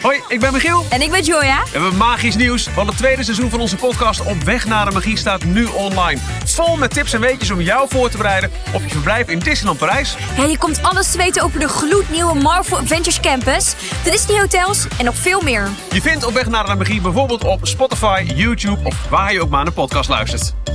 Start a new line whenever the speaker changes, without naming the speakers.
Hoi, ik ben Michiel.
En ik ben Joya.
We hebben magisch nieuws, want het tweede seizoen van onze podcast Op Weg naar de Magie staat nu online. Vol met tips en weetjes om jou voor te bereiden op je verblijf in Disneyland Parijs.
Ja, je komt alles te weten over de gloednieuwe Marvel Adventures Campus, de Disney Hotels en nog veel meer.
Je vindt Op Weg naar de Magie bijvoorbeeld op Spotify, YouTube of waar je ook maar naar een podcast luistert.